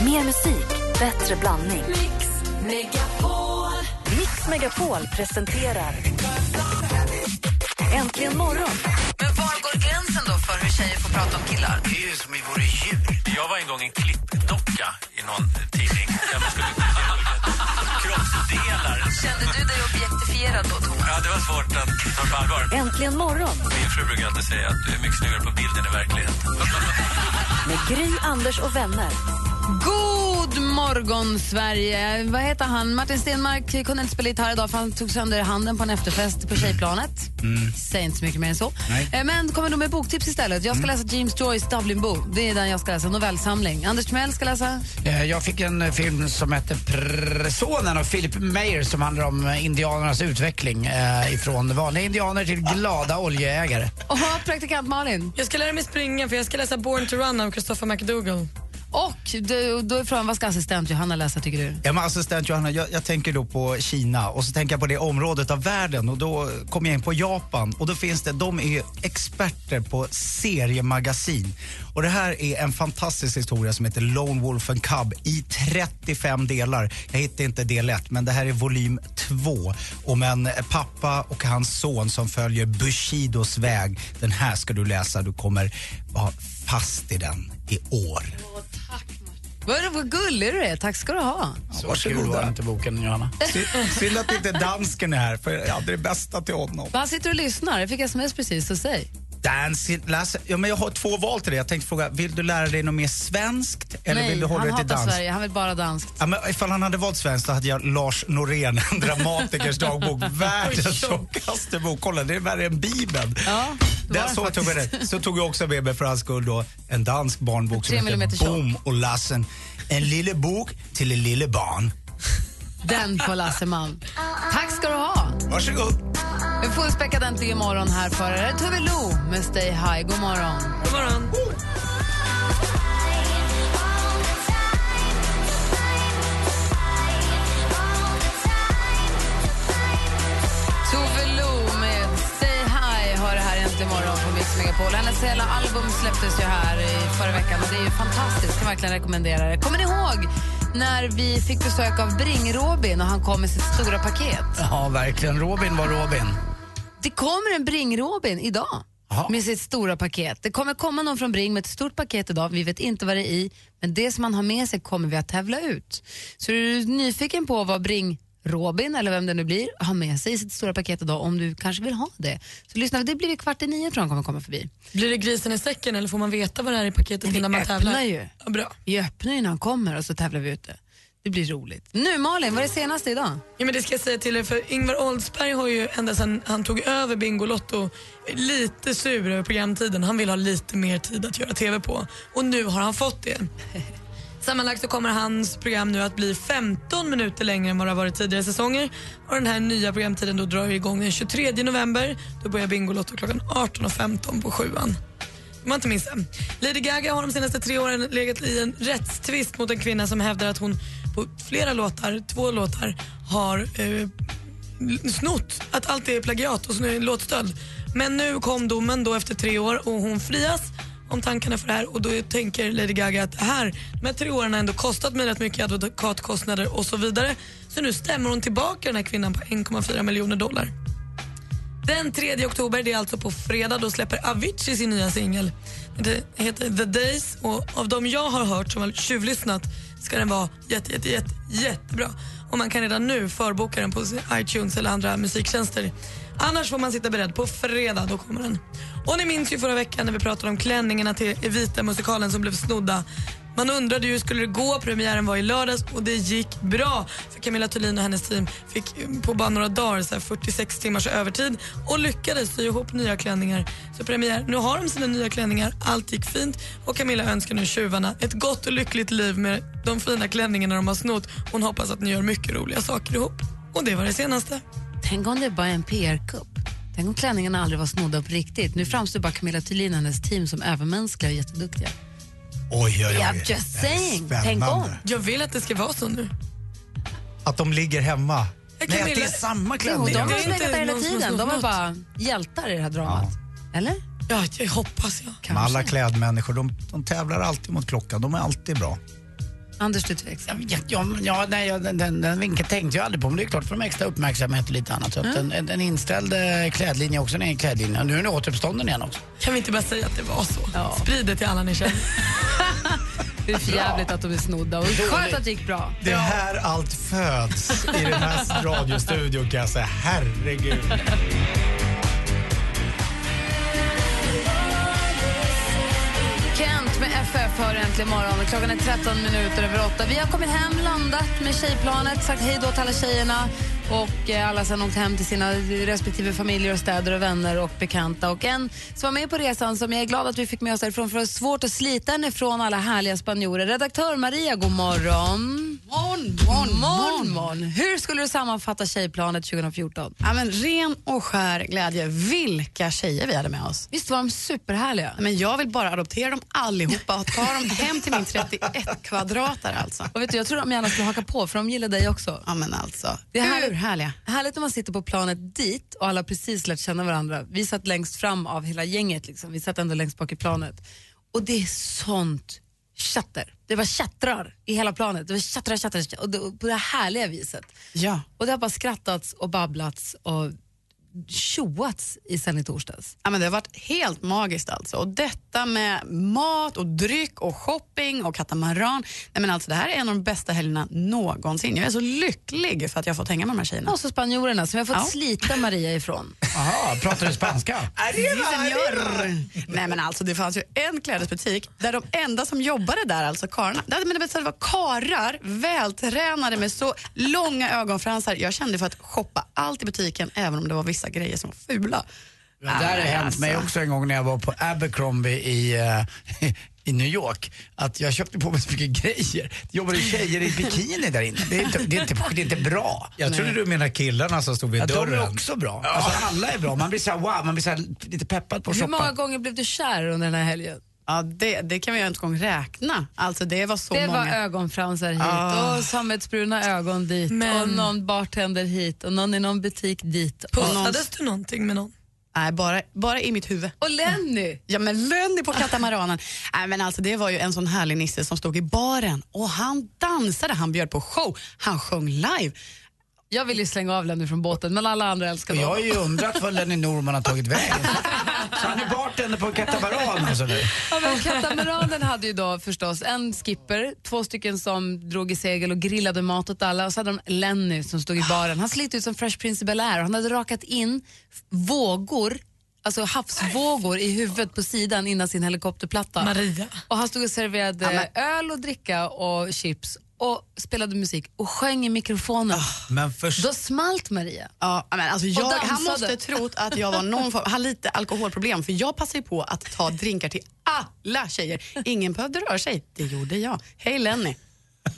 Mer musik, bättre blandning. Mix Megapol. Mix Megapol presenterar Äntligen morgon. Men var går gränsen då för hur tjejer får prata om killar? Det är ju som vi vore djur. Jag var en gång en klippdocka i någon tidning. Där man skulle kroppsdelar. Kände du dig objektifierad då, Thomas? Ja, det var svårt att ta på allvar. Äntligen morgon Min fru brukar alltid säga att du är mycket snyggare på bilden i verkligheten. med Gry, Anders och vänner. God morgon, Sverige! Vad heter han? Martin Stenmark kunde inte spela gitarr idag för han tog sönder handen på en efterfest på tjejplanet. Säg inte så mycket mer än så. Nej. Eh, Men kommer då med boktips istället. Jag ska läsa James Joyce Dublinbo. Det är den jag ska läsa, en novellsamling. Anders Timell ska läsa. Eh, Jag fick en eh, film som hette Pr- Sonen av Philip Mayer som handlar om eh, indianernas utveckling eh, ifrån vanliga indianer till glada oljeägare. Och praktikant Malin. Jag ska lära mig springa för jag ska läsa Born to Run av Christopher McDougall. Och du, då är frågan, vad ska assistent Johanna läsa tycker du? Ja, men assistent Johanna, jag, jag tänker då på Kina och så tänker jag på det området av världen och då kommer jag in på Japan och då finns det, de är ju experter på seriemagasin. Och det här är en fantastisk historia som heter Lone Wolf and Cub i 35 delar. Jag hittar inte del 1 men det här är volym 2 om en pappa och hans son som följer Bushidos väg. Den här ska du läsa, du kommer vara fast i den i år. Vad, vad gullig du är, tack ska du ha. Så kul var inte boken, Johanna. Sy- Synd att inte dansken är här, för jag hade det bästa till honom. Vad sitter du och lyssnar? Jag fick sms precis, så säg. Dansken, läs, ja, men jag har två val till dig. Jag tänkte fråga, vill du lära dig något mer svenskt eller Nej, vill du hålla han dig till hatar dans? Sverige, han vill bara dansk. Ja, men ifall han hade valt svenskt så hade jag Lars Norén, en dramatikers dagbok, världens tjockaste bok. Kolla, det är värre än Bibeln. Ja, det var Där det så, tog jag det. så tog jag också med mig för hans skull då en dansk barnbok som Tre millimeter heter tjock. Bom och Lassen. En lille bok till en lille barn. Den på Lasseman. Tack ska du ha. Varsågod. Vi får späcka den till imorgon här för er. Här är Tove Lo med Stay High. God morgon. God morgon. Tove Lo med Stay High har det här äntligen morgon på Mix Megapol. Hennes hela album släpptes ju här i förra veckan och det är ju fantastiskt. Kan verkligen rekommendera det. Kommer ni ihåg när vi fick besök av Bring-Robin och han kom med sitt stora paket? Ja, verkligen. Robin var Robin. Det kommer en Bring-Robin idag Jaha. med sitt stora paket. Det kommer komma någon från Bring med ett stort paket idag. Vi vet inte vad det är i, men det som man har med sig kommer vi att tävla ut. Så är du nyfiken på vad Bring Robin, eller vem det nu blir, har med sig i sitt stora paket idag om du kanske vill ha det. Så lyssna, det blir vid kvart i nio tror jag han kommer komma förbi. Blir det grisen i säcken eller får man veta vad det är i paketet vi innan man öppnar tävlar? ju. Ja, bra. Vi öppnar ju när han kommer och så tävlar vi ut det. Det blir roligt. Nu Malin, vad är det senaste idag? Ja, men det ska jag säga till er för Ingvar Oldsberg har ju ända sedan han tog över Bingolotto lite sur över programtiden. Han vill ha lite mer tid att göra TV på och nu har han fått det. Sammanlagt så kommer hans program nu att bli 15 minuter längre än vad det har varit tidigare säsonger. Och den här nya programtiden då drar igång den 23 november. Då börjar Bingolotto klockan 18.15 på sjuan. Om man inte minns det. Lady Gaga har de senaste tre åren legat i en rättstvist mot en kvinna som hävdar att hon på flera låtar, två låtar, har eh, snott. Att allt är plagiat och snu- låtstöld. Men nu kom domen då efter tre år och hon frias om tankarna för det här och då tänker Lady Gaga att det här, de här tre åren har ändå kostat mig rätt mycket i advokatkostnader och så vidare. Så nu stämmer hon tillbaka den här kvinnan på 1,4 miljoner dollar. Den 3 oktober, det är alltså på fredag, då släpper Avicii sin nya singel. Det heter The Days och av de jag har hört som har tjuvlyssnat ska den vara jätte, jätte, jätte, jättebra. Och man kan redan nu förboka den på iTunes eller andra musiktjänster. Annars får man sitta beredd. På fredag då kommer den. Och ni minns ju förra veckan när vi pratade om klänningarna till Evita-musikalen som blev snodda. Man undrade ju skulle det gå, premiären var i lördags och det gick bra. För Camilla Thulin och hennes team fick eh, på bara några dagar så här 46 timmars övertid och lyckades sy ihop nya klänningar. Så premiär, nu har de sina nya klänningar, allt gick fint och Camilla önskar nu tjuvarna ett gott och lyckligt liv med de fina klänningarna de har snott. Hon hoppas att ni gör mycket roliga saker ihop. Och det var det senaste. Tänk om det bara är en PR-kupp. Tänk om klänningarna aldrig var snodda på riktigt. Nu framstår bara Camilla Thulin och hennes team som övermänskliga och jätteduktiga. Oj, oj, oj. I'm just Det här är saying. Tänk om. spännande. Jag vill att det ska vara så nu. Att de ligger hemma. Jag kan Nej, att det vilja- är samma Jo, de klänning. har Det är ju legat inte där hela någon som har tiden. De snott var något. bara hjältar i det här dramat. Eller? Ja, det hoppas jag. Men alla Kanske. klädmänniskor, de, de tävlar alltid mot klockan. De är alltid bra. Anders, du är tveksam. Jag vet ju om- Ja, nej, jag- den, den, den vinkeln tänkte jag aldrig på, men det är klart för de extra uppmärksamhet och lite annat. Så att en, en, en inställd eh, klädlinje också en egen klädlinje. Och nu är den återuppstånden igen också. Kan vi inte bara säga att det var så? Ja. Sprid det till alla ni känner. Det är för jävligt att de är snodda och skönt att det gick bra. Det är här allt föds i den här radiostudion kan jag säga. Herregud. Kent med FF hör äntligen morgon. Klockan är 13 minuter över 8. Vi har kommit hem, landat med tjejplanet, sagt hej då till alla tjejerna och eh, alla sen åkt hem till sina respektive familjer och städer och vänner och bekanta. Och en som var med på resan som jag är glad att vi fick med oss därifrån för det var svårt att slita henne från alla härliga spanjorer. Redaktör Maria, god morgon. Morgon, Morgon, morgon, morgon. morgon. Hur skulle du sammanfatta tjejplanet 2014? Ja, men ren och skär glädje. Vilka tjejer vi hade med oss. Visst var de superhärliga? Men jag vill bara adoptera dem allihopa och ta dem hem till min 31 kvadratare alltså. Och vet du, jag tror de gärna skulle haka på för de gillar dig också. Ja men alltså, Det här- hur härliga. Härligt när man sitter på planet dit och alla har precis lärt känna varandra. Vi satt längst fram av hela gänget, liksom. vi satt ändå längst bak i planet. Och det är sånt chatter. Det var chattrar i hela planet. Det var chattrar, chattrar, chattrar. Och det, och på det härliga viset. Ja. Och det har bara skrattats och babblats och tjoats i sen i torsdags. Ja, men det har varit helt magiskt alltså. Och detta med mat och dryck och shopping och katamaran. Nej, men alltså, det här är en av de bästa helgerna någonsin. Jag är så lycklig för att jag har fått hänga med de här tjejerna. Och så spanjorerna som vi har fått Ja. slita Maria ifrån. Jaha, pratar du spanska? Sí, señor. Nej men alltså det fanns ju en klädesbutik där de enda som jobbade där, alltså karlarna, där, men det var- det var karar, vältränade med så långa ögonfransar. Jag kände för att shoppa allt i butiken även om det var vissa grejer som var fula. Det där har Nej, hänt alltså. mig också en gång när jag var på Abercrombie i, eh, i New York. Att jag köpte på mig så mycket grejer. Det jobbade tjejer i bikini där inne. Det är inte, det är inte, det är inte bra. Jag trodde du menar killarna som stod vid Ja, de är dörren. också bra. Alltså, alla är bra. Man blir så här, wow, man blir så här lite peppad på att Hur många shoppa. gånger blev du kär under den här helgen? Ja, det, det kan vi ju inte gång räkna. Alltså det var så Det många. var ögonfransar hit Ah. och sammetsbruna ögon dit Men- och någon bartender hit och någon i någon butik dit. Och, Pussades du någonting med någon? Nej, bara, bara i mitt huvud. och Lenny! Ja men Lenny på katamaranen. Nej, men alltså, det var ju en sån härlig nisse som stod i baren och han dansade, han bjöd på show, han sjöng live. Jag vill ju slänga av Lenny från båten men alla andra älskar Och Jag har honom. ju undrat vad Lenny Norman har tagit vägen. Så han är bartender på Katabaran och så nu. Ja, men katamaranen hade ju då förstås en skipper, två stycken som drog i segel och grillade mat åt alla och så hade de Lenny som stod i baren. Han slet ut som Fresh Prince i Bel-Air och han hade rakat in vågor, alltså havsvågor i huvudet på sidan innan sin helikopterplatta. Maria? Och han stod och serverade öl och dricka och chips och spelade musik och sjöng i mikrofonen. Ah. Men först... Då smalt Maria. Ja, men alltså jag, han dansade. måste trott att jag var någon form, han lite alkoholproblem för jag passade ju på att ta drinkar till alla tjejer. Ingen behövde röra sig, det gjorde jag. Hej Lenny.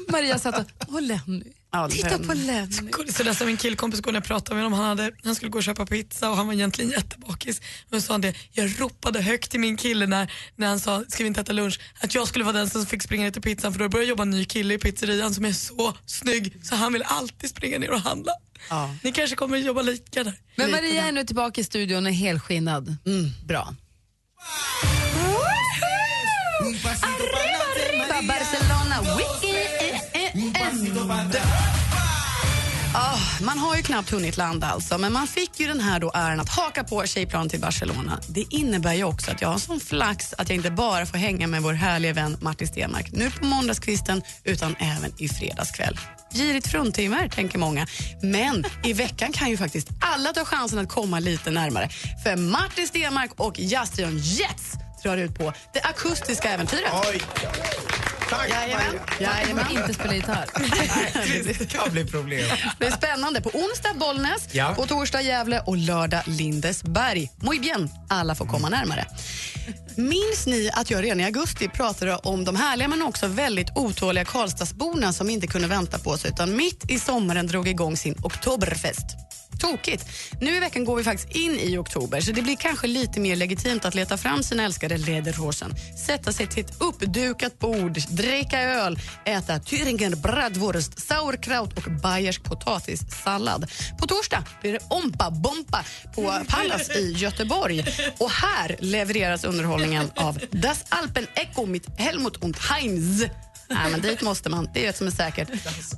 Maria satt och, åh Lenny, Ja, titta Lenny. på Lenny. Sådär som min killkompis går när jag pratade med honom. Han, hade, han skulle gå och köpa pizza och han var egentligen jättebakis. Men så sa han det, jag ropade högt till min kille när, när han sa, ska vi inte äta lunch? Att jag skulle vara den som fick springa ner till pizzan för då började jobba en ny kille i pizzerian som är så snygg så han vill alltid springa ner och handla. Ja. Ni kanske kommer att jobba lika där. Men Maria är nu tillbaka i studion och är helskinnad. Bra. Arriba Barcelona, weekend! man har ju knappt hunnit landa alltså, men man fick ju den här då äran att haka på tjejplanen till Barcelona. Det innebär ju också att jag har sån flax att jag inte bara får hänga med vår härliga vän Martin Stenmark nu på måndagskvisten, utan även i fredagskväll. Girigt fruntimmer, tänker många. Men i veckan kan ju faktiskt alla ta chansen att komma lite närmare. För Martin Stenmark och Jastrion Jets drar ut på det akustiska äventyret. Oj, tack! Jajamän. Jag Jajamän. kommer inte spela gitarr. Det kan bli problem. Det är spännande. På onsdag Bollnäs, Ja. på torsdag Gävle och lördag Lindesberg. Muy bien. Alla får komma närmare. Minns ni att jag redan i augusti pratade om de härliga men också väldigt otåliga Karlstadsborna som inte kunde vänta på sig utan mitt i sommaren drog igång sin Oktoberfest? Tokigt. Nu i veckan går vi faktiskt in i oktober så det blir kanske lite mer legitimt att leta fram sina älskade lederhosen, sätta sig till ett uppdukat bord, dricka öl, äta Thüringer bratwurst, sauerkraut och bayersk potatissallad. På torsdag blir det ompa bompa på Pallas i Göteborg och här levereras underhållningen av Das Alpen Echo mit Helmut und Heinz. Nej, men dit måste man. Det är ett som är säkert.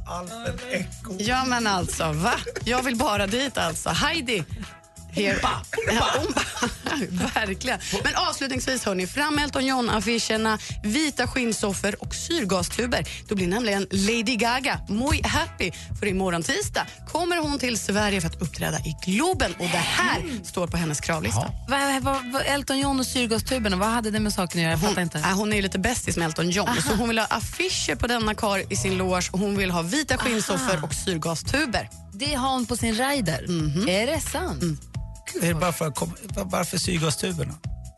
Alpen Echo. Ja, men alltså, va? Jag vill bara dit alltså. Heidi! Here. Ja, ompa. Verkligen. Men avslutningsvis, hörni, fram Elton John-affischerna, vita skinnsoffor och syrgastuber. Då blir nämligen Lady Gaga muy happy, för imorgon tisdag kommer hon till Sverige för att uppträda i Globen och det här står på hennes kravlista. Vad, vad, vad, Elton John och syrgastuberna, vad hade det med saken att göra? Jag fattar Hon, inte. äh, hon är ju lite bästis med Elton John, så hon vill ha affischer på denna kar i sin loge och hon vill ha vita skinnsoffor och syrgastuber. Det har hon på sin rider. Är det sant? Är det bara för, kom, var- varför syrgastuberna?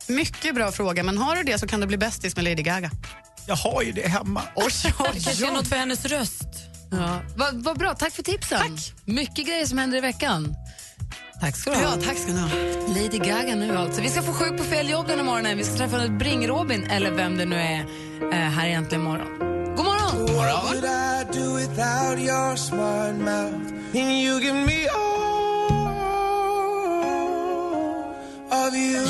Mycket bra fråga, men har du det så kan du bli bästis med Lady Gaga. Jag har ju det hemma. Oj, oj, Kanske är något för hennes röst. Ja. Vad vad bra, tack för tipsen. Tack. Mycket grejer som händer i veckan. Tack ska du ha. Ja, tack ska ni ha. Lady Gaga nu alltså. Vi ska få sjuk på fel jobb den här morgonen. Vi ska träffa Bring-Robin, eller vem det nu är, eh, här egentligen imorgon. God morgon! God morgon.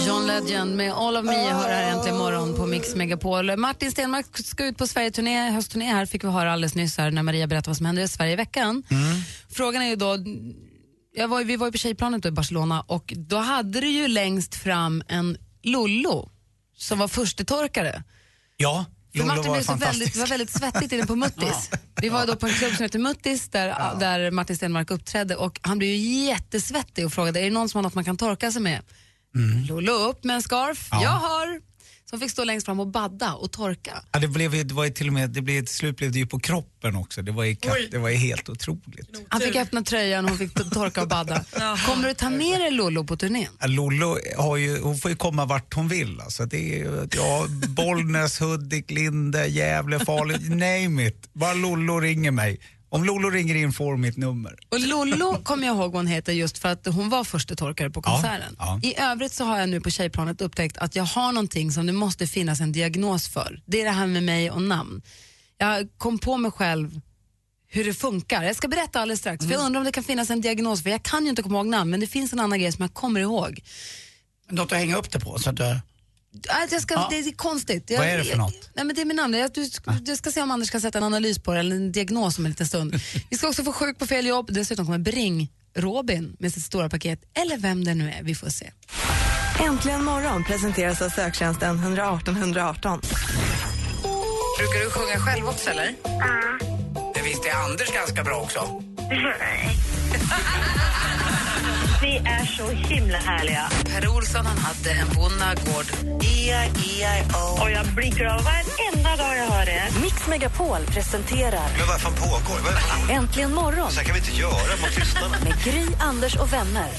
John Legend med All of Me hör här äntligen imorgon på Mix Megapol. Martin Stenmark ska ut på Sverige-turné, höstturné här fick vi höra alldeles nyss här när Maria berättade vad som händer i Sverige i veckan. Frågan är ju då, jag var, ju- vi var ju på tjejplanet då i Barcelona och då hade du ju längst fram en Lollo som var förstetorkare. Ja, För Lollo Martin var blev så väldigt, fantastisk. var väldigt svettigt inne på Muttis. Vi var då på en klubb som heter Muttis där, där Martin Stenmark uppträdde och han blev ju jättesvettig och frågade är det någon som har något man kan torka sig med? Mm. Lollo upp med en scarf, jag har! Som fick stå längst fram och badda och torka. Ja, det, blev, ju- det var ju till och med, det blev, till slut blev det ju på kroppen också. Det var ju, katt, det var ju helt otroligt. Han fick öppna tröjan och hon fick to- torka och badda. Kommer du ta med dig Lollo på turnén? Ja, Lollo har ju, hon får ju komma vart hon vill. Alltså, det är, ju- ja, Bollnäs, Hudik, Linde, Gävle, Falun, name it. Bara Lollo ringer mig. Om Lollo ringer in får hon mitt nummer. Och Lollo kommer jag ihåg vad hon heter just för att hon var första torkare på konserten. ja. I övrigt så har jag nu på tjejplanet upptäckt att jag har någonting som det måste finnas en diagnos för. Det är det här med mig och namn. Jag kom på mig själv hur det funkar. Jag ska berätta alldeles strax Mm. för jag undrar om det kan finnas en diagnos för jag kan ju inte komma ihåg namn men det finns en annan grej som jag kommer ihåg. Något att hänga upp det på så att eh, du... Att jag ska, Det är konstigt. Jag, Vad är det för något? Ah. Nej, men det är med namn. Jag, du, jag ska se om Anders kan sätta en analys på det, eller en diagnos om en liten stund. Vi ska också få sjuk på fel jobb. Dessutom kommer Bring Robin med sitt stora paket, eller vem det nu är. Vi får se. Äntligen morgon presenteras av söktjänsten 118 118. Brukar du sjunga själv också, eller? Det visste Anders ganska bra också. Vi är så himla härliga. Per Olsson han hade en bonnagård. Och jag blir glad varenda dag jag hör det. Mix Megapol presenterar Men vad fan pågår? Vad är det för- Äntligen morgon Så här kan vi inte göra mot lyssnarna. med Gry, Anders och vänner.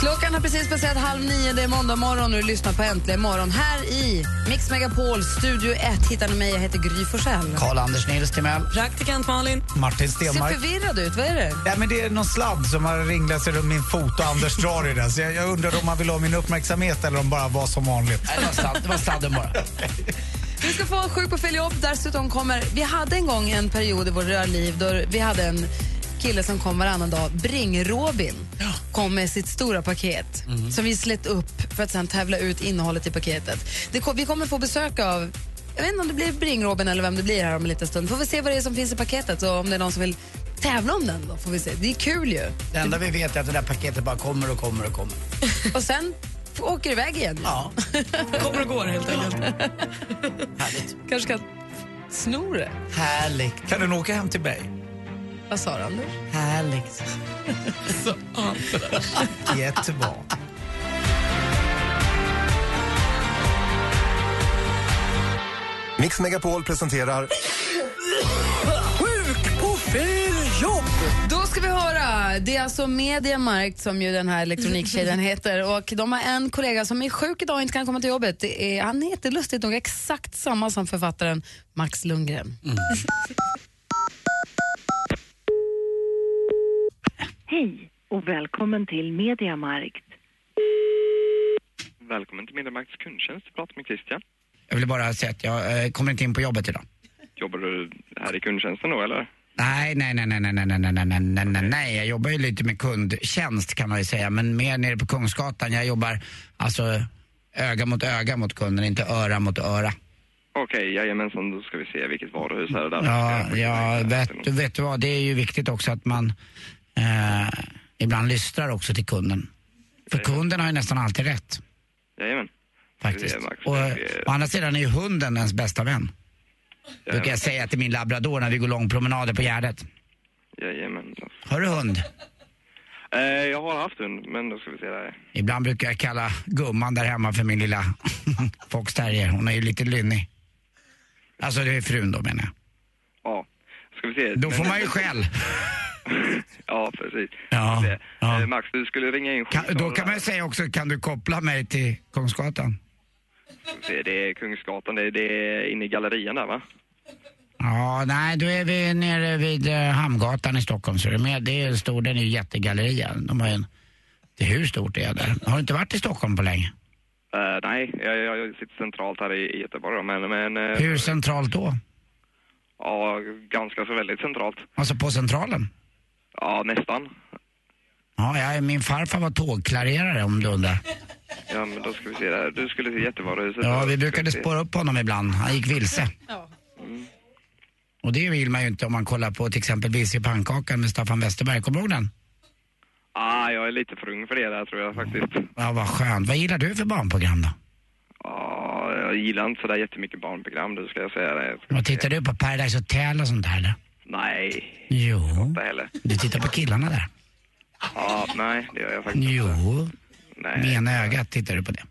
Klockan har precis passerat halv nio. Det är måndag morgon och du lyssnar på Äntligen morgon här i Mix Megapol Studio 1. Hittar ni mig? Jag heter Gry Forssell. Karl-Anders Nils Timell. Praktikant Malin. Martin Ser Stenmark. förvirrad ut. Vad är det? Nej, men det är någon sladd som har ringlat sig runt min fot och Anders drar i den. Så jag, jag undrar om han vill ha min uppmärksamhet eller om bara var som vanligt. Nej, det var sladd- det var sladden bara. Vi ska få en sjuk på fel jobb. Dessutom kommer... Vi hade en gång en period i våra liv då vi hade en kille som kom varannan dag, Bring-Robin, kom med sitt stora paket som vi slet upp för att sen tävla ut innehållet i paketet. Det kom, vi kommer få besök av, jag vet inte om det blir Bring-Robin eller vem det blir här om en liten stund. Får vi se vad det är som finns i paketet och om det är någon som vill tävla om den då får vi se. Det är kul ju. Det enda vi vet är att det där paketet bara kommer och kommer och kommer. Och sen åker det iväg igen. Ja, Kommer och går helt enkelt. härligt. Kanske kan sno det. Härligt. Kan den åka hem till mig? Vad sa du, Anders? Härligt. Jättebra. Mix Megapol presenterar Då ska vi höra. Det är alltså Mediamarkt som ju den här elektronikkedjan heter. Och de har en kollega som är sjuk idag och inte kan komma till jobbet. Det är, han heter lustigt nog exakt samma som författaren Max Lundgren. Hej och välkommen till Mediamarkt. Välkommen till Mediamarkts kundtjänst. Du pratar med Christian. Jag vill bara säga att jag eh, kommer inte in på jobbet idag. Jobbar du här i kundtjänsten då eller? Nej, nej, nej, nej, nej, nej, nej, nej, nej, nej, nej, nej. Jag jobbar ju lite med kundtjänst kan man ju säga, men mer nere på Kungsgatan. Jag jobbar alltså öga mot öga mot kunden, inte öra mot öra. Okej, jajamensan, då ska vi se vilket varuhus är det där. Ja, ja vet, vet du vad, det är ju viktigt också att man eh, ibland lyssnar också till kunden. För kunden har ju nästan alltid rätt. Jajamän. Faktiskt. Det är Max. Och, eh, å andra sidan är ju hunden ens bästa vän. Brukar jag säga till min labrador när vi går långpromenader på Gärdet. Jajamän. Har du hund? Eh, jag har haft hund, men då ska vi se där. Ibland brukar jag kalla gumman där hemma för min lilla foxterrier. Hon är ju lite lynnig. Alltså det är frun då menar jag. Ja, ska vi se. Då Men- får man ju skäll. ja, precis. Ja, Eh, Max, du skulle ringa in Kan, då skjortan kan man ju där. säga också, kan du koppla mig till Kungsgatan? Ska vi se, Det är Kungsgatan, det är, det är inne i gallerian där va? Ja, nej, då är vi nere vid eh, Hamngatan i Stockholm. Så det är, med, det är en stor, den är ju jättegalleria. De har ju en, det, hur stort är det? Har du inte varit i Stockholm på länge? Eh, nej, jag, jag, jag sitter centralt här i, i Göteborg då, men... men eh, Hur centralt då? Ja, ganska så väldigt centralt. Alltså på Centralen? Ja, nästan. Ja, jag, min farfar var tågklarerare om du undrar. Ja, men då ska vi se där. Du skulle till jättevaruhuset. Ja, Då vi ska brukade se. spåra upp honom ibland. Han gick vilse. Mm. Och det vill man ju inte om man kollar på till exempel Vilse i pannkakan med Staffan Westerberg. Kommer du ihåg den? Ah, jag är lite för ung för det där tror jag faktiskt. Ja, vad skönt. Vad gillar du för barnprogram då? Ja, jag gillar inte sådär jättemycket barnprogram, du ska jag säga det. Vad tittar du på? Paradise Hotel och sånt där eller? Nej, Jo. inte heller. Du tittar på killarna där? Ja, nej, det gör jag faktiskt Jo. Nej. Med ena ögat tittar du på det.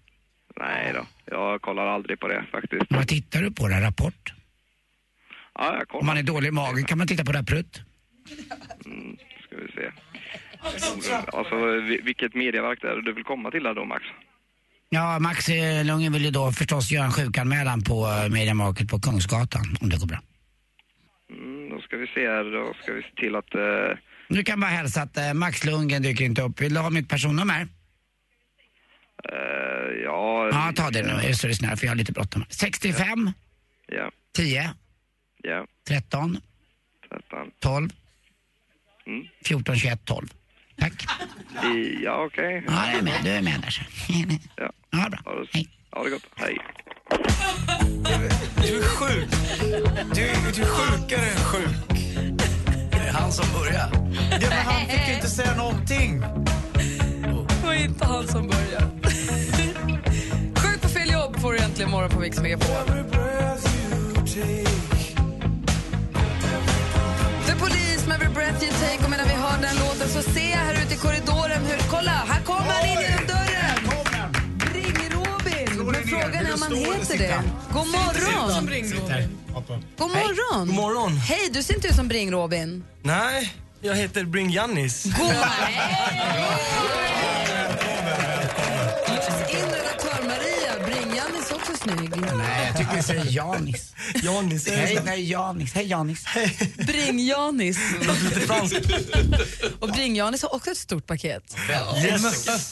Nej då, jag kollar aldrig på det faktiskt. Vad tittar du på då? Rapport? Ja, jag Om kollar. man är dålig i magen kan man titta på Rapprutt. Mm, ska vi se. Alltså, vi- vilket medieverk det är du vill komma till där då, Max? Ja, Max eh, Lundgren vill ju då förstås göra en sjukanmälan på eh, Media Market på Kungsgatan om det går bra. Mm, då ska vi se här, då ska vi se till att... eh, Du kan bara hälsa att eh, Max Lundgren dyker inte upp. Vill du ha mitt personnummer? eh, ja... Eh, Ja, ta det nu. Just det, snäll, för jag har lite bråttom. 65, Ja, 10, ja, 13, 13. 12, Mm. 14, 21, 12. Tack. I- Ja, okej. Ja, jag är med. Du är med där. så. Ja. Ja, bra. Ha det, Hej. ha det gott. Hej. Du är sjuk. Du, är- du är sjukare än sjuk. Det är han som börjar. Ja, men han fick ju inte säga någonting. Det var inte han som började. Sjuk på fel jobb får du äntligen morgon på Mix Megapol. The Police med Every breath you take och medan vi hör den låten så ser jag här ute i korridoren hur, kolla, här kommer han in genom dörren! Ring-Robin! Men frågan är om han heter det. God morgon! God morgon! God morgon. Hej, du ser inte ut som Bring-Robin. Nej, jag heter Bring Jannis. Lås in redaktör-Maria. Bring-Jannis är också snygg. Nej, jag tycker vi säger Janis. Janis. Hej, nej, Janis. Hej, Janis. Bring-Janis. Och Bring-Janis har också ett stort paket. Yes.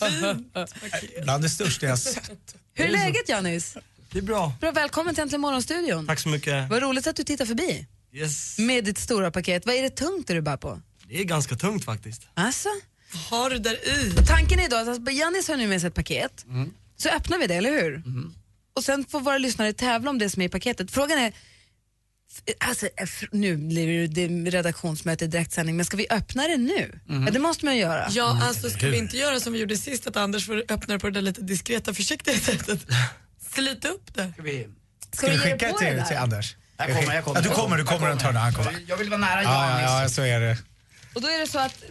Bland det största jag sett. Hur är läget, Janis? Det är bra. Bra, välkommen till Äntligen Morgonstudion. Tack så mycket. Vad roligt att du tittar förbi Yes. med ditt stora paket. Vad är det tungt det du bär på? Det är ganska tungt faktiskt. Alltså? Har du där i? Tanken är idag att alltså, Janis har nu med sig ett paket. Så öppnar vi det, eller hur? Och sen får våra lyssnare tävla om det som är i paketet. Frågan är, f- alltså, f- nu blir det redaktionsmöte i direktsändning, men ska vi öppna det nu? Mhm. Ja, det måste man ju göra. Mm. Ja, alltså ska vi inte göra som vi gjorde sist att Anders får öppna det på det där lite diskreta försiktiga sättet. Slita upp det. Ska vi... Ska vi ge skicka på till- det där? till Anders. Jag kommer, jag kommer. Ja, du kommer, du Jag kommer runt hörnet. Han kommer. Jag vill vara nära Ja, Janis. ja, ja, så är det. Och då är det så att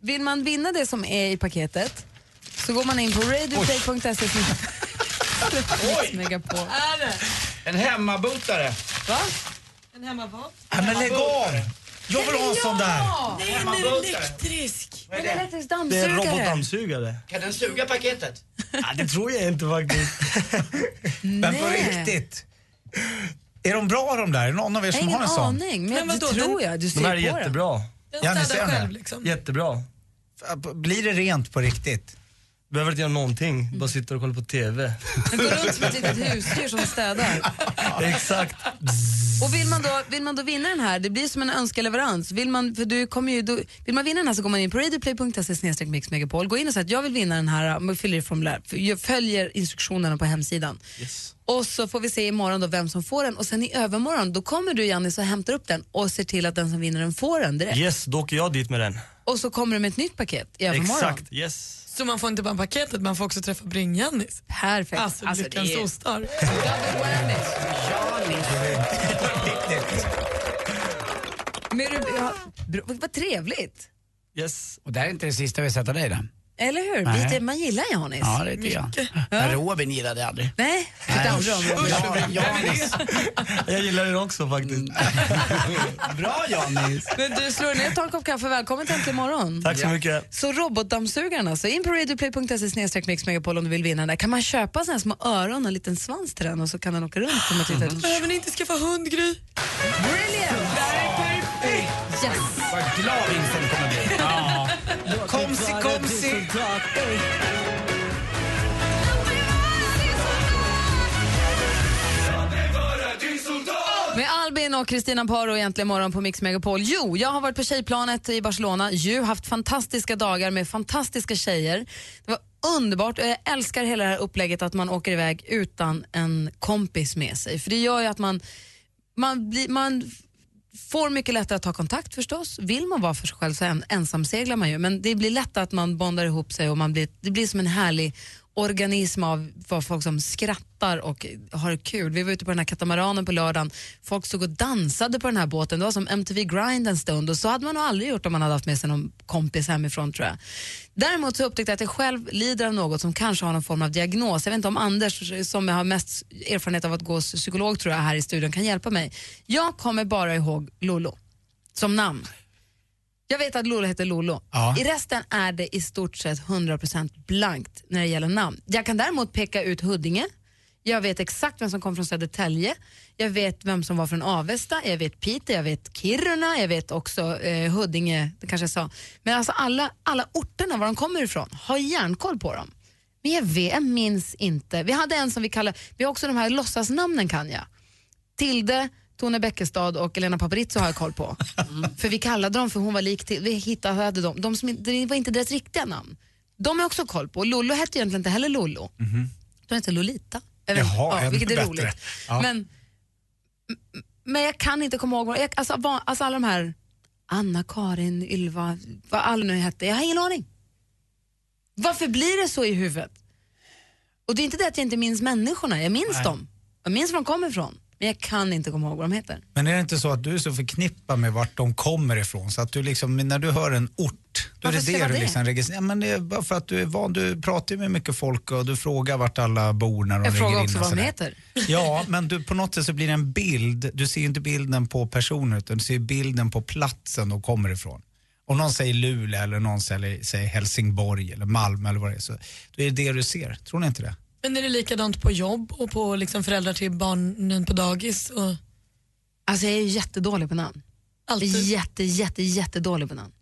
vill man vinna det som är i paketet så går man in på radioplay.se Oj! Megapol. En hemmabotare. Va? En hemmavat? Nej, men lägg av! Jag vill ha en sån där. Nej, en elektrisk! En elektrisk Det är en dammsugare. robotdammsugare. Kan den suga paketet? Ja, det tror jag inte faktiskt. Men på riktigt. Är de bra de där? Är det någon av er Jag har som har ingen en sån? aning, men, Men jag, det vadå, tror den- jag. Du ser De här är på den. jättebra. Den Janne, städar ser ni det? själv liksom. Jättebra. Blir det rent på riktigt? Behöver inte göra någonting, bara sitta och kolla på TV. Den går runt som ett litet husdjur som städar. Exakt. Och vill man, då, vill man då vinna den här, det blir som en önskeleverans. Vill man, för du kommer ju, då, vill man vinna den här så går man in på radioplay.se mixmegapol, går in och säger att jag vill vinna den här, man fyller i formulär, jag följer instruktionerna på hemsidan. Och så får vi se imorgon då vem som får den och sen i övermorgon då kommer du Jannis och hämtar upp den och ser till att den som vinner den får den direkt. Yes, då åker jag dit med den. Och så kommer du med ett nytt paket i övermorgon. Exakt, yes. Så man får inte bara paketet, man får också träffa Bring-Jannis. Perfekt. Alltså, Alltså, det lyckans är- ostar. Men är du, ja, bra, vad trevligt, Yes. Och det här är inte det sista vi sätter dig då? eller hur? Nej. Lite, man gillar Janis. Ja, Äh, det tycker jag. Men Robin gillade jag aldrig. Nej, det är andra områden. Jag gillar den också faktiskt. Bra Janis! Men du slår ner, ta en kopp kaffe. Välkommen till Äntligen morgon. Tack så Ja. mycket. Så robotdammsugarna, så in på radioplay.se snedstreck Mix Megapol om du vill vinna den där. Kan man köpa såna här små öron och en liten svans till den och så kan den åka runt? Som ett litet... Behöver ni inte skaffa hund, Gry? Yes! Vad glad Vincent kommer bli. Ja. Komsi, komsi! Med Albin och Kristina Paro egentligen morgon på Mix Megapol. Jo, jag har varit på tjejplanet i Barcelona. Ju haft fantastiska dagar med fantastiska tjejer. Det var underbart och jag älskar hela det här upplägget att man åker iväg utan en kompis med sig. För det gör ju att man, man, blir, man får mycket lättare att ta kontakt förstås. Vill man vara för sig själv så en, ensamseglar man ju. Men det blir lätt att man bondar ihop sig och man blir, det blir som en härlig organism av vad folk som skrattar och har kul. Vi var ute på den här katamaranen på lördagen. Folk stod och dansade på den här båten. Det var som MTV Grind en stund och så hade man nog aldrig gjort om man hade haft med sig någon kompis hemifrån tror jag. Däremot så upptäckte jag att jag själv lider av något som kanske har någon form av diagnos. Jag vet inte om Anders som har mest erfarenhet av att gå hos psykolog tror jag här i studion kan hjälpa mig. Jag kommer bara ihåg Lolo som namn. Jag vet att Lolo heter Lolo. Ja. I resten är det i stort sett 100% blankt när det gäller namn. Jag kan däremot peka ut Huddinge. Jag vet exakt vem som kom från Södertälje. Jag vet vem som var från Avesta. Jag vet Piteå, jag vet Kiruna, jag vet också eh, Huddinge, det kanske jag sa. Men alltså alla, alla orterna, var de kommer ifrån, har järnkoll på dem. Men jag, vet, jag minns inte. Vi hade en som vi kallar, vi har också de här låtsasnamnen kan jag. Tilde, Tone Bäckestad och Elena Paparizou har jag koll på. Mm. För vi kallade dem för hon var lik till, vi hittade dem, de som, inte- det var inte deras riktiga namn. De har jag också koll på. Lollo hette ju egentligen inte heller Lollo. De hette Lolita. Jag vet inte. Mhm. Jaha, ännu vilket är bättre. roligt. Ja. Men, m- men jag kan inte komma ihåg, vad- jag, alltså, va- alltså alla de här Anna-Karin, Ylva, vad alla nu hette, jag har ingen aning. Varför blir det så i huvudet? Och det är inte det att jag inte minns människorna, jag minns Nej. dem. Jag minns var de kommer ifrån, men jag kan inte komma ihåg vad de heter. Men är det inte så att du är så förknippad med vart de kommer ifrån? Så att du liksom, när du hör en ort, då är Varför det ska jag det vara du det? liksom registrerar. Ja, men det är bara för att du är van, du pratar ju med mycket folk och du frågar vart alla bor när de Jag ringer in. frågar också och vad de sådär. heter. Ja, men du, på något sätt så blir det en bild, du ser ju inte bilden på personen utan du ser ju bilden på platsen de kommer ifrån. Om någon säger Luleå eller någon säger, säger Helsingborg eller Malmö eller vad det är, så då är det det du ser. Tror ni inte det? Men är det likadant på jobb och på liksom föräldrar till barnen på dagis? Och... Alltså jag är jättedålig på namn. Alltid. Jätte, jätte, jättedålig på namn.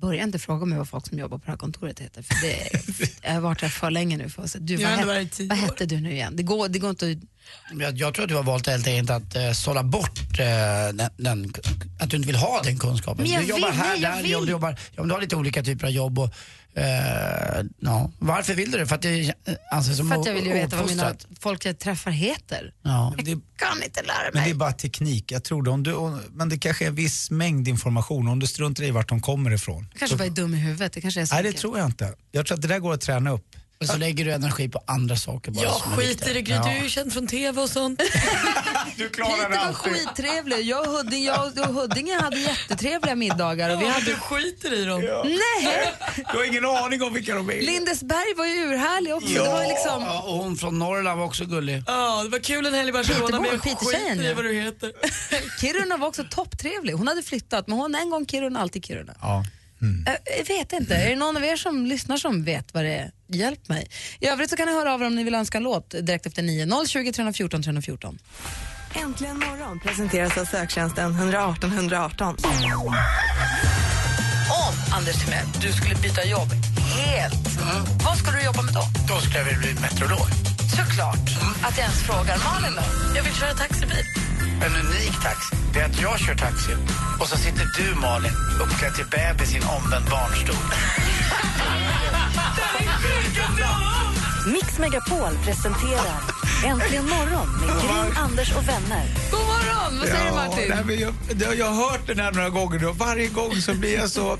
Börja inte fråga mig vad folk som jobbar på det här kontoret heter. För det jag har varit här för länge nu för att säga, du, Jag vad, har ändå hette- varit i tio vad hette du nu igen? Det går, det går inte att... Jag, jag tror att du har valt helt enkelt att eh, sålla bort eh, den, den, att du inte vill ha den kunskapen. Men jag du jobbar vill, här, nej, jag där, du vill. jobbar, ja, men du har lite olika typer av jobb. Och, eh, ja. Varför vill du det? För att det anses som För att jag vill ju veta vad mina ouppfostrat. folk jag träffar heter. Ja. Men det, Kan inte lära men det mig. är bara teknik, jag tror det. Om du, om, men det kanske är en viss mängd information, om du struntar i vart de kommer ifrån. Jag kanske bara är dum i huvudet. Det kanske är så Nej, det enkelt. tror jag inte. Jag tror att det där går att träna upp. Och så lägger du energi på andra saker bara. Ja, som är skit viktiga. i det Gry, du är ju känd från TV och sånt. du Peter var skittrevlig. Jag och, Hudding, jag och Huddinge hade jättetrevliga middagar. Och vi hade... Du skiter i dem. Nej! Du har ingen aning om vilka de är. Lindesberg var ju urhärlig också. Det var ju liksom... ja, och hon från Norrland var också gullig. Ja, det var kul en helg i Barcelona men Peterborg, jag Petertjejen, skiter i ja. vad du heter. Kiruna var också topptrevlig. Hon hade flyttat, men hon en gång Kiruna, alltid Kiruna. Ja. Jag- Jag vet inte. Är det någon av er som lyssnar som vet vad det är? Hjälp mig. I övrigt så kan ni höra av er om ni vill önska en låt direkt efter 9. 020 314 314. Äntligen morgon presenteras av söktjänsten 118 118. Om, Anders Timell, du skulle byta jobb helt, vad skulle du jobba med då? Då skulle jag vilja bli meteorolog. Såklart. Att jag ens frågar. Malin då? Jag vill köra taxibil. en unik taxi, det är att jag kör taxi och så sitter du, Malin, uppklädd till bebis i en omvänd barnstol. Mix Megapol presenterar Äntligen morgon med Gry, Anders och vänner. God morgon! Vad säger du, Martin? Nej, men jag, jag, jag har hört den här några gånger och varje gång så blir jag så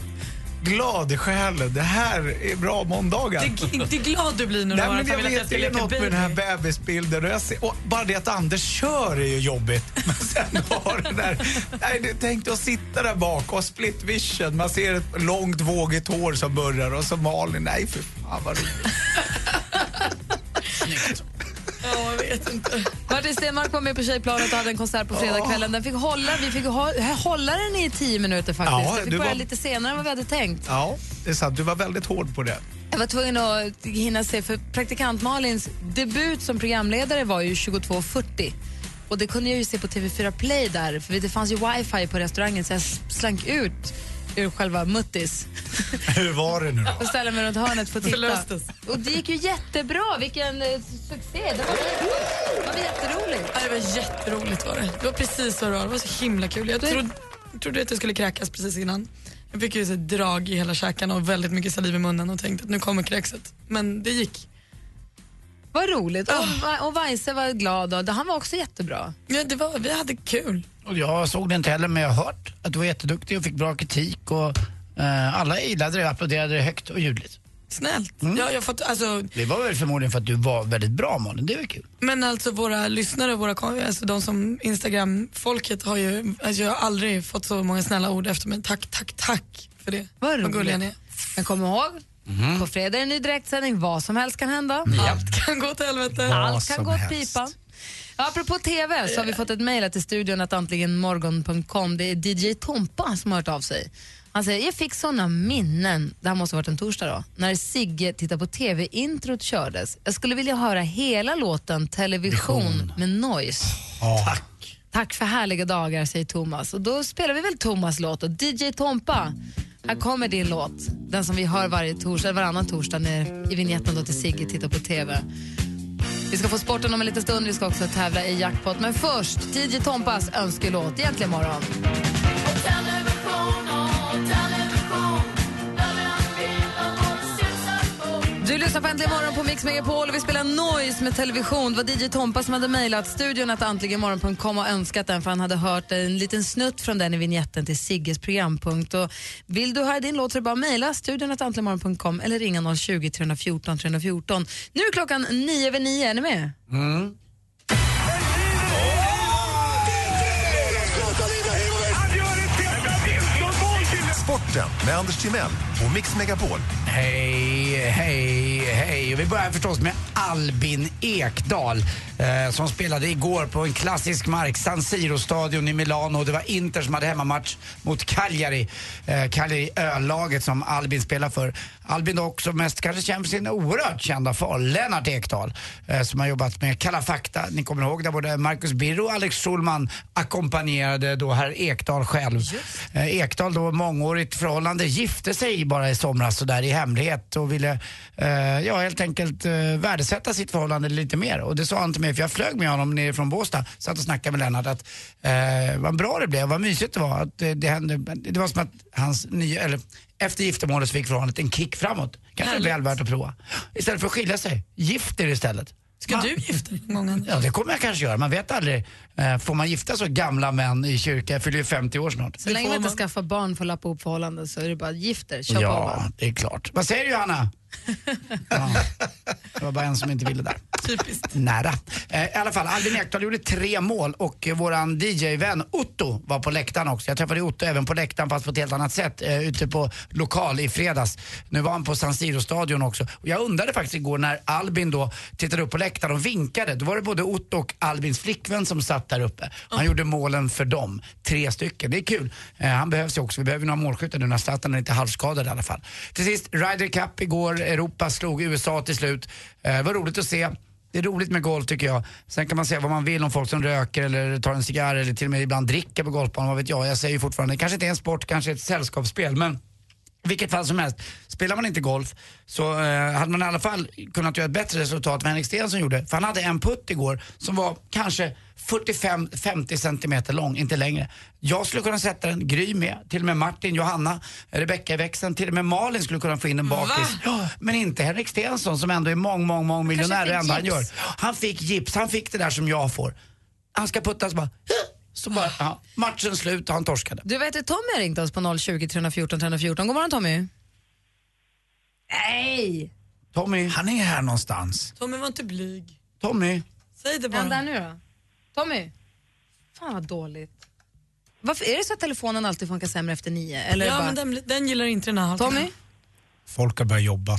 glad i själen. Det här är bra måndagar. Det- det är glad du blir när du Nej, hör men att jag Pamela vet, Tätby det är leker något med baby. den här bebisbilden. Och jag ser, och bara det att Anders kör är ju jobbigt. Men sen har den där... Nej, du tänkte att sitta där bak och split vision. Man ser ett långt vågigt hår som burrar och så Malin. Nej, för fan vad roligt. Ja, jag vet inte. Martin Stenmark var med på Tjejplanet och hade en konsert på fredagskvällen. Den fick hålla, vi fick hå- hålla den i tio minuter faktiskt. Ja, den fick du börja var- lite senare än vad vi hade tänkt. Ja, det är sant. Du var väldigt hård på det. Jag var tvungen att hinna se, för praktikant Malins debut som programledare var ju 22.40. Och det kunde jag ju se på TV4 Play där, för det fanns ju wifi på restaurangen så jag slank ut ur själva muttis Hur var det nu då? och ställde mig runt hörnet för att titta. Förlöstes. Och det gick ju jättebra, vilken eh, succé! Det var, det var jätteroligt. Ja, det var jätteroligt var det. Det var precis vad det var. Det var så himla kul. Jag trodde, trodde att jag skulle kräkas precis innan. Jag fick ju så ett drag i hela käkarna och väldigt mycket saliv i munnen och tänkte att nu kommer kräkset. Men det gick. Vad roligt. Ah. Och, och Weise var glad och han var också jättebra. Ja, det var, vi hade kul. Och jag såg det inte heller, men jag har hört att du var jätteduktig och fick bra kritik. Och, eh, alla gillade det och applåderade det högt och ljudligt. Snällt. Mm. Ja, jag har fått, alltså, Det var väl förmodligen för att du var väldigt bra, Malin. Det var kul. men alltså våra lyssnare, våra, kom- alltså de som Instagram-folket har ju, alltså jag har aldrig fått så många snälla ord efter mig. Tack, tack, tack för det. Vad Vad gulliga ni är. roligt. Men kom ihåg, på fredag är det ny direktsändning. Vad som helst kan hända. Allt kan gå åt helvete. Allt kan gå åt pipan. Ja, apropå TV så har vi fått ett mejl här till studion att antligenmorgon.com. Det är DJ Tompa som har hört av sig. Han säger, jag fick såna minnen, det här måste ha varit en torsdag då, när Sigge tittade på TV-introt kördes. Jag skulle vilja höra hela låten Television med Noise. Tack. Tack för härliga dagar, säger Thomas. Och då spelar vi väl Thomas låt och DJ Tompa. Här kommer din låt, den som vi hör varje torsdag, varannan torsdag när i vignetten då till Sigge tittar på TV. Vi ska få sporten om en liten stund, vi ska också tävla i jackpot. Men först, DJ Tompas önskelåt, egentligen morgon. Du lyssnar på Äntligen morgon på Mix Megapol och vi spelar Noise med television. Det var DJ Tompa som hade mejlat studion att antligenmorgon.com och önskat den för han hade hört en liten snutt från den i vignetten till Sigges programpunkt. Och vill du höra din låt så är det bara att mejla studion att antligenmorgon.com eller ringa 020 314 314. Nu är klockan nio över nio, är ni med? Mm. Sporten med Anders Timell och Mix Megapol. Hej, hej, hej. Och vi börjar förstås med Albin Ekdal eh, som spelade igår på en klassisk mark, San Siro-stadion i Milano. Det var Inter som hade hemmamatch mot Cagliari. Eh, Cagliari ö-laget som Albin spelar för. Albin är också mest kanske känd för sin oerhört kända far, Lennart Ekdal, eh, som har jobbat med Kalla fakta. Ni kommer ihåg där både Marcus Birro och Alex Schulman ackompanjerade då herr Ekdal själv. Eh, Ekdal då mångårigt förhållande gifte sig bara i somras så där i hemlighet och ville eh, ja, helt enkelt eh, värdesätta sitt förhållande lite mer. Och det sa han till mig för jag flög med honom ner från Båstad, satt och snackade med Lennart att eh, vad bra det blev, vad mysigt det var. Att, eh, det, hände, det var som att hans nya, eller efter giftermålet så fick förhållandet en kick framåt. Kanske är väl värt att prova. Istället för att skilja sig, gift er istället. Ska du gifta dig någon gång? Anders? Ja, det kommer jag kanske göra. Man vet aldrig. Eh, får man gifta så gamla män i kyrka? Jag fyller ju 50 år snart. Så länge man inte skaffar barn för att lappa ihop förhållanden så är det bara gifter, kör på bara. Ja, det är klart. Vad säger du Johanna? ja, det var bara en som inte ville där. Typiskt. Nära. Eh, I alla fall, Albin Ekdal gjorde tre mål och eh, våran DJ-vän Otto var på läktaren också. Jag träffade Otto även på läktaren fast på ett helt annat sätt eh, ute på lokal i fredags. Nu var han på San Siro-stadion också. Och jag undrade faktiskt igår när Albin då tittade upp på läktaren och vinkade. Då var det både Otto och Albins flickvän som satt där uppe. Han gjorde målen för dem. Tre stycken. Det är kul. Eh, han behövs ju också. Vi behöver ju några målskyttar nu när Zlatan är lite halvskadad i alla fall. Till sist, Ryder Cup igår. Europa slog USA till slut. Eh, det var roligt att se. Det är roligt med golf tycker jag. Sen kan man säga vad man vill om folk som röker eller tar en cigarr eller till och med ibland dricker på golfbanan, vad vet jag. Jag säger ju fortfarande, det kanske inte är en sport, kanske ett sällskapsspel, men i vilket fall som helst, spelar man inte golf så eh, hade man i alla fall kunnat göra ett bättre resultat än vad Henrik Stenson gjorde. För han hade en putt igår som var kanske 45-50 centimeter lång, inte längre. Jag skulle kunna sätta den, Gry med, till och med Martin, Johanna, Rebecca i växeln, till och med Malin skulle kunna få in en bakis. Ja, Men inte Henrik Stenson som ändå är mång, mång, mång miljonär fick det enda han gör. gips. Han fick gips, han fick det där som jag får. Han ska puttas bara, så bara, ja. matchen slut och han torskade. Du vet att Tommy har ringt oss på 020 314 314. God morgon Tommy. Nej! Tommy. Han är här någonstans. Tommy var inte blyg. Tommy. Säg det Vänta bara. nu då. Tommy. Fan vad dåligt. Varför är det så att telefonen alltid funkar sämre efter nio? Eller ja, bara... men den, den gillar inte den här halvtimmen. Tommy? Folk har börjat jobba. Äh.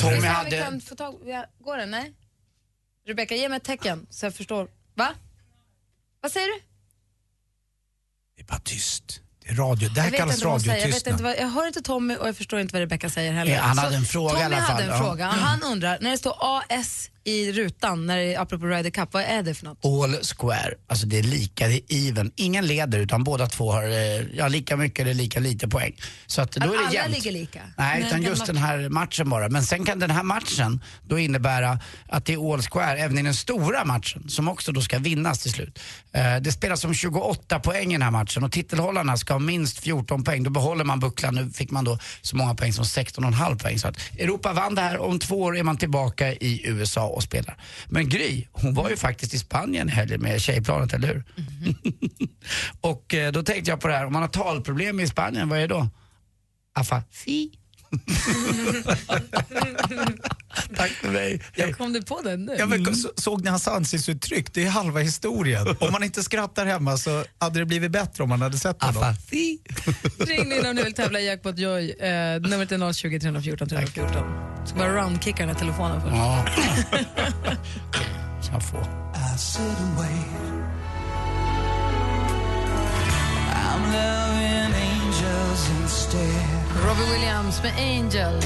Tommy Tommy hade- Äh. Vi kan få tag... ja, Går den? Nej? Rebecka, ge mig ett tecken så jag förstår. Va? Vad säger du? Det är bara tyst. Det är radio. Det här jag vet kallas inte vad hon säger. Jag, vet inte radiotystnad. vad... jag hör inte Tommy och jag förstår inte vad Rebecka säger heller. Ja, han Så hade en fråga Tommy i alla fall, hade en ja. Mm. fråga. Han undrar, när det står AS i rutan, när det är, apropå Ryder Cup, vad är det för något? All square, alltså det är lika, det är even. Ingen leder utan båda två har eh, ja, lika mycket eller lika lite poäng. Så att då är Att det alla jämnt. ligger lika? Nej, utan just den här matchen bara. Men sen kan den här matchen då innebära att det är all square även i den stora matchen som också då ska vinnas till slut. Eh, Det spelas om 28 poäng i den här matchen och titelhållarna ska ha minst 14 poäng. Då behåller man bucklan. Nu fick man då så många poäng som 16,5 poäng. Så att Europa vann det här. Om två år är man tillbaka i USA och spelar. Men Gry, hon var ju faktiskt i Spanien i helgen med tjejplanet, eller hur? Mm-hmm. och eh, då tänkte jag på det här, om man har talproblem i Spanien, vad är det då? Afa, si. Tack för mig. Jag kom du på den nu? Ja, men, så, såg ni hans ansiktsuttryck? Det är halva historien. Om man inte skrattar hemma så hade det blivit bättre om man hade sett honom. Ring nu om ni vill tävla i Jackpot Joy. Eh, numret är 020 314 314. Ska bara roundkicka den här telefonen först. Ja. Kan få. Robbie Williams med Angels.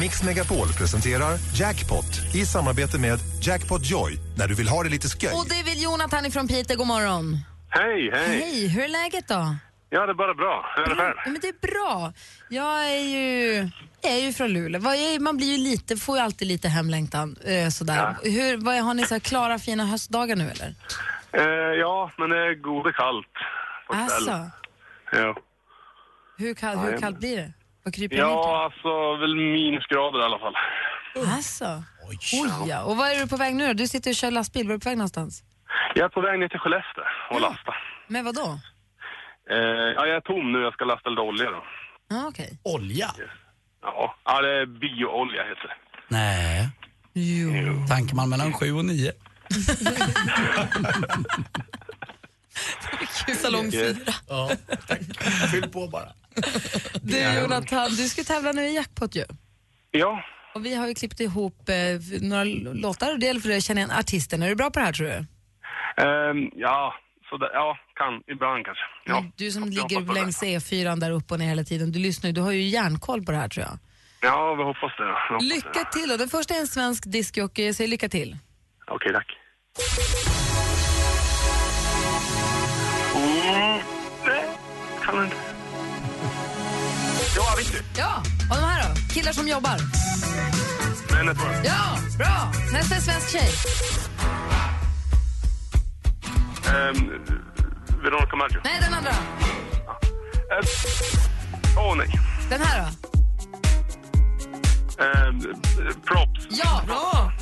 Mix Megapol presenterar Jackpot i samarbete med Jackpot Joy när du vill ha det lite sköj. Och det vill Jonathan ifrån Piteå. God morgon. Hej, hej. Hej, hur är läget då? Ja, det är bara bra. Hur är det själv? Ja, men det är bra. Jag är ju, jag är ju från Luleå. Vad är- Man blir ju lite, får ju alltid lite hemlängtan. Eh, sådär. Hur, vad, är- har ni så här klara fina höstdagar nu eller? Eh, ja, men det är gode kallt på kvällen. Alltså, Ja, hur, kall, hur Nej. kallt blir det? Vad kryper ni ja alltså väl minusgrader i alla fall. till? Alltså, oj ja. Och var är du på väg nu då? Du sitter och kör lastbil. Var är du på väg någonstans? Jag är på väg ner till Skellefteå och lasta. Med vad då? Eh, ja, jag är tom nu. Jag ska lasta lite olja då. Ah, okej. Olja? Ja, ja det är bioolja heter det. Nej. Jo. Tankar man mellan sju och nio. Salong fyra. Ja, Fyll på bara. Du Jonathan, du ska tävla nu i jackpot ju. Ja. Och vi har ju klippt ihop eh, några låtar och det gäller för dig att känna igen artisten. Är du bra på det här tror du? Ehm, ja, så där, ja, kan, ibland kanske. Ja, Du som jag hoppas ligger på det. längs E4 där upp och ner hela tiden, du lyssnar ju, du har ju järnkoll på det här tror jag. Ja, vi hoppas det. då. Vi hoppas det. Lycka till! Och den första är en svensk discjockey, jag säger lycka till. Okej, tack. Mm. Kan inte. Ja, visst du. Ja, och de här då? Killar som jobbar. Men ett var. Ja, bra! Nästa är svensk tjej. Ehm, Veronica Maggio. Nej, den andra. Ehm, Åh, nej. Den här då? Ehm, eh, props. Ja, bra!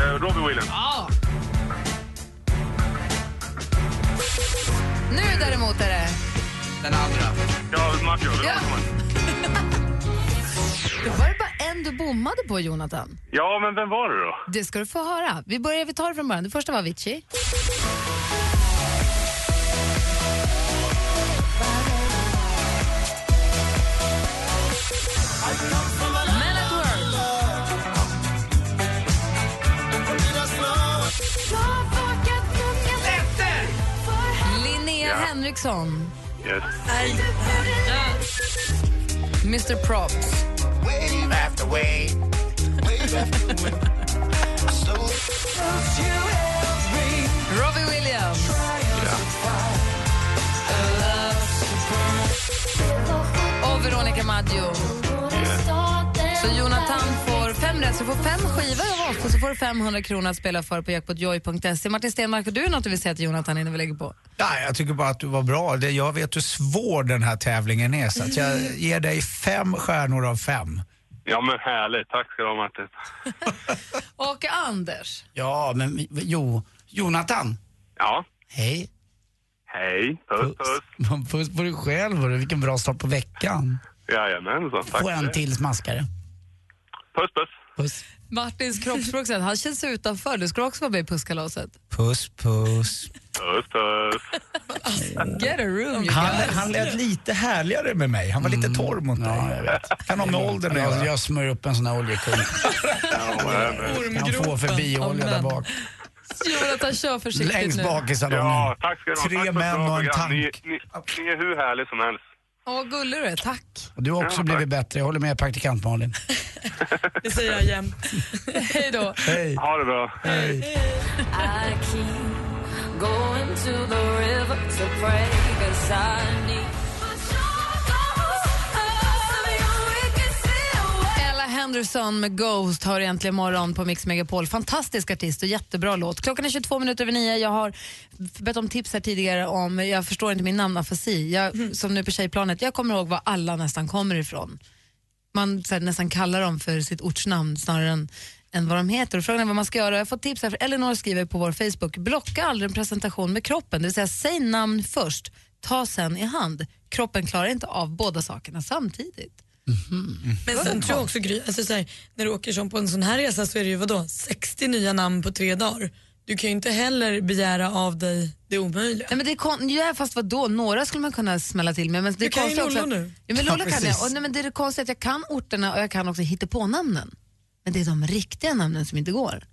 Ehm, Robbie Williams. Ja. Nu däremot är det... Den andra. Ja, Maggio. Ja. Veronica Maggio. Det var det bara en du bommade på, Jonathan. Ja, men vem var det då? Det ska du få höra. Vi börjar, vi tar det från början. Det första var Avicii. Men at work. Linnea Ja. Henriksson. Yes. Mr Props. Wave after wave. Wave after wave. So don't you help me. Robbie Williams. Och Veronica Maggio. Så Jonathan får fem rätt. det. Så du får fem skivor av oss och så får du 500 kronor att spela för på jackpotjoy.se. Martin Stenmark, har du något du vill säga till Jonathan innan vi lägger på? Nej, jag tycker bara att du var bra. Det- Jag vet hur svår den här tävlingen är så att jag ger dig fem stjärnor av fem. Ja, men härligt. Tack ska du ha, Martin. Och Anders. Ja, men jo, Jonathan. Ja. Hej. Hej. Puss, puss. Puss på dig själv, hörru. vilken bra start på veckan. Jajamensan. Tack. Få en till smaskare. Puss, puss. Puss. Martins kroppsspråk, så här, han känns utanför. Du skulle också vara med i pusskalaset. Puss, puss. Puss, puss. Get a room, you Han, guys. han lät lite härligare med mig. Han var lite torr mot mig. Ja, jag vet. Kan ha med åldern att Jag, göra. jag smörjer upp en sån här oljekung. Han får förbi olja där bak. Jonathan, kör försiktigt Längst nu. bak i salongen. Ja, tack ska Tre du ha. Tack för ett män bra och en program. Ni, ni, ni är hur härlig som helst. Åh, vad gullig du är. Tack. Och du har också blivit bättre. Jag håller med praktikant Malin. Det säger jag jämt. Hej då. Hej. Ha det bra. Hej. I keep going to the river to pray 'cause I need. Ella Henderson med Ghost har egentligen morgon på Mix Megapol. Fantastisk artist och jättebra låt. Klockan är 22 minuter över nio. Jag har bett om tips här tidigare om, jag förstår inte min namnafasi. Mm. Jag, som nu på tjejplanet, jag kommer ihåg var alla nästan kommer ifrån. Man så här, nästan kallar dem för sitt ortsnamn snarare än, än vad de heter. Och frågan är vad man ska göra. Jag har fått tips här, för Elinor skriver på vår Facebook, blocka aldrig en presentation med kroppen. Det vill säga, säg namn först, ta sen i hand. Kroppen klarar inte av båda sakerna samtidigt. Men sen tror jag också Gry, alltså så här, när du åker som på en sån här resa så är det ju vadå, 60 nya namn på tre dagar. Du kan ju inte heller begära av dig det omöjliga. Nej, men det är kon- ja, fast vadå, några skulle man kunna smälla till med. Men det Du är kan ju konstigt också Lollo att- nu. Ja, men Ja, Lollo kan jag. precis. Och, nej, men det är det konstiga att jag kan orterna och jag kan också hittepånamnen. Men det är de riktiga namnen som inte går.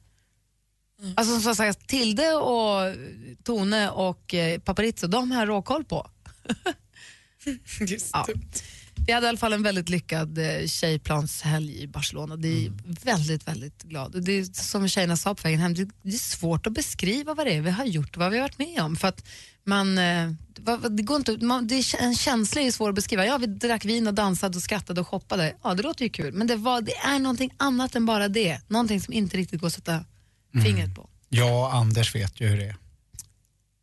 Mm. Alltså som sagt, Tilde och Tone och eh, Paparizzo, de har jag råkoll på. ja. Vi hade i alla fall en väldigt lyckad eh, tjejplanshelg i Barcelona. Det är Mm. väldigt, väldigt glad. Och Det är, som tjejerna sa på vägen hem, det, det är svårt att beskriva vad det är vi har gjort och vad vi har varit med om. För att man, eh, vad- vad- det går inte, man, det är, en känsla är ju svår att beskriva. Ja, vi drack vin och dansade och skrattade och shoppade. Ja, det låter ju kul. Men det, var, det är någonting annat än bara det. Någonting som inte riktigt går att sätta Mm. fingret på. Jag och Anders vet ju hur det är.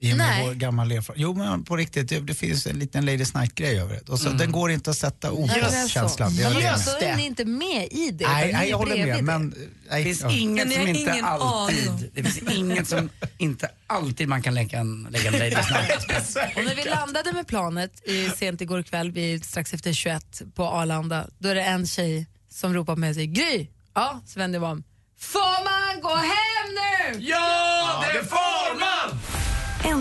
I och med Nej. vår gammal erfarenhet. Jo men på riktigt, det, det finns en liten Ladies Night-grej över det. Och så, Den går inte att sätta ord Mm. Ja, alltså, det är på så. känslan. Ja, Jag håller med. Då är ni inte med i det. utan Nej, ni nej, är jag håller med. bredvid det. Men, nej, Det finns ja. inget som inte ingen alltid, det finns inget som inte alltid man kan lägga en, lägga en ladies night. Och när vi landade med planet i, sent igår kväll, vid, strax efter 21 på Arlanda, då är det en tjej som ropar med sig Gry! Ja, så vänder jag mig om. Får man gå hem nu? Ja, det får man!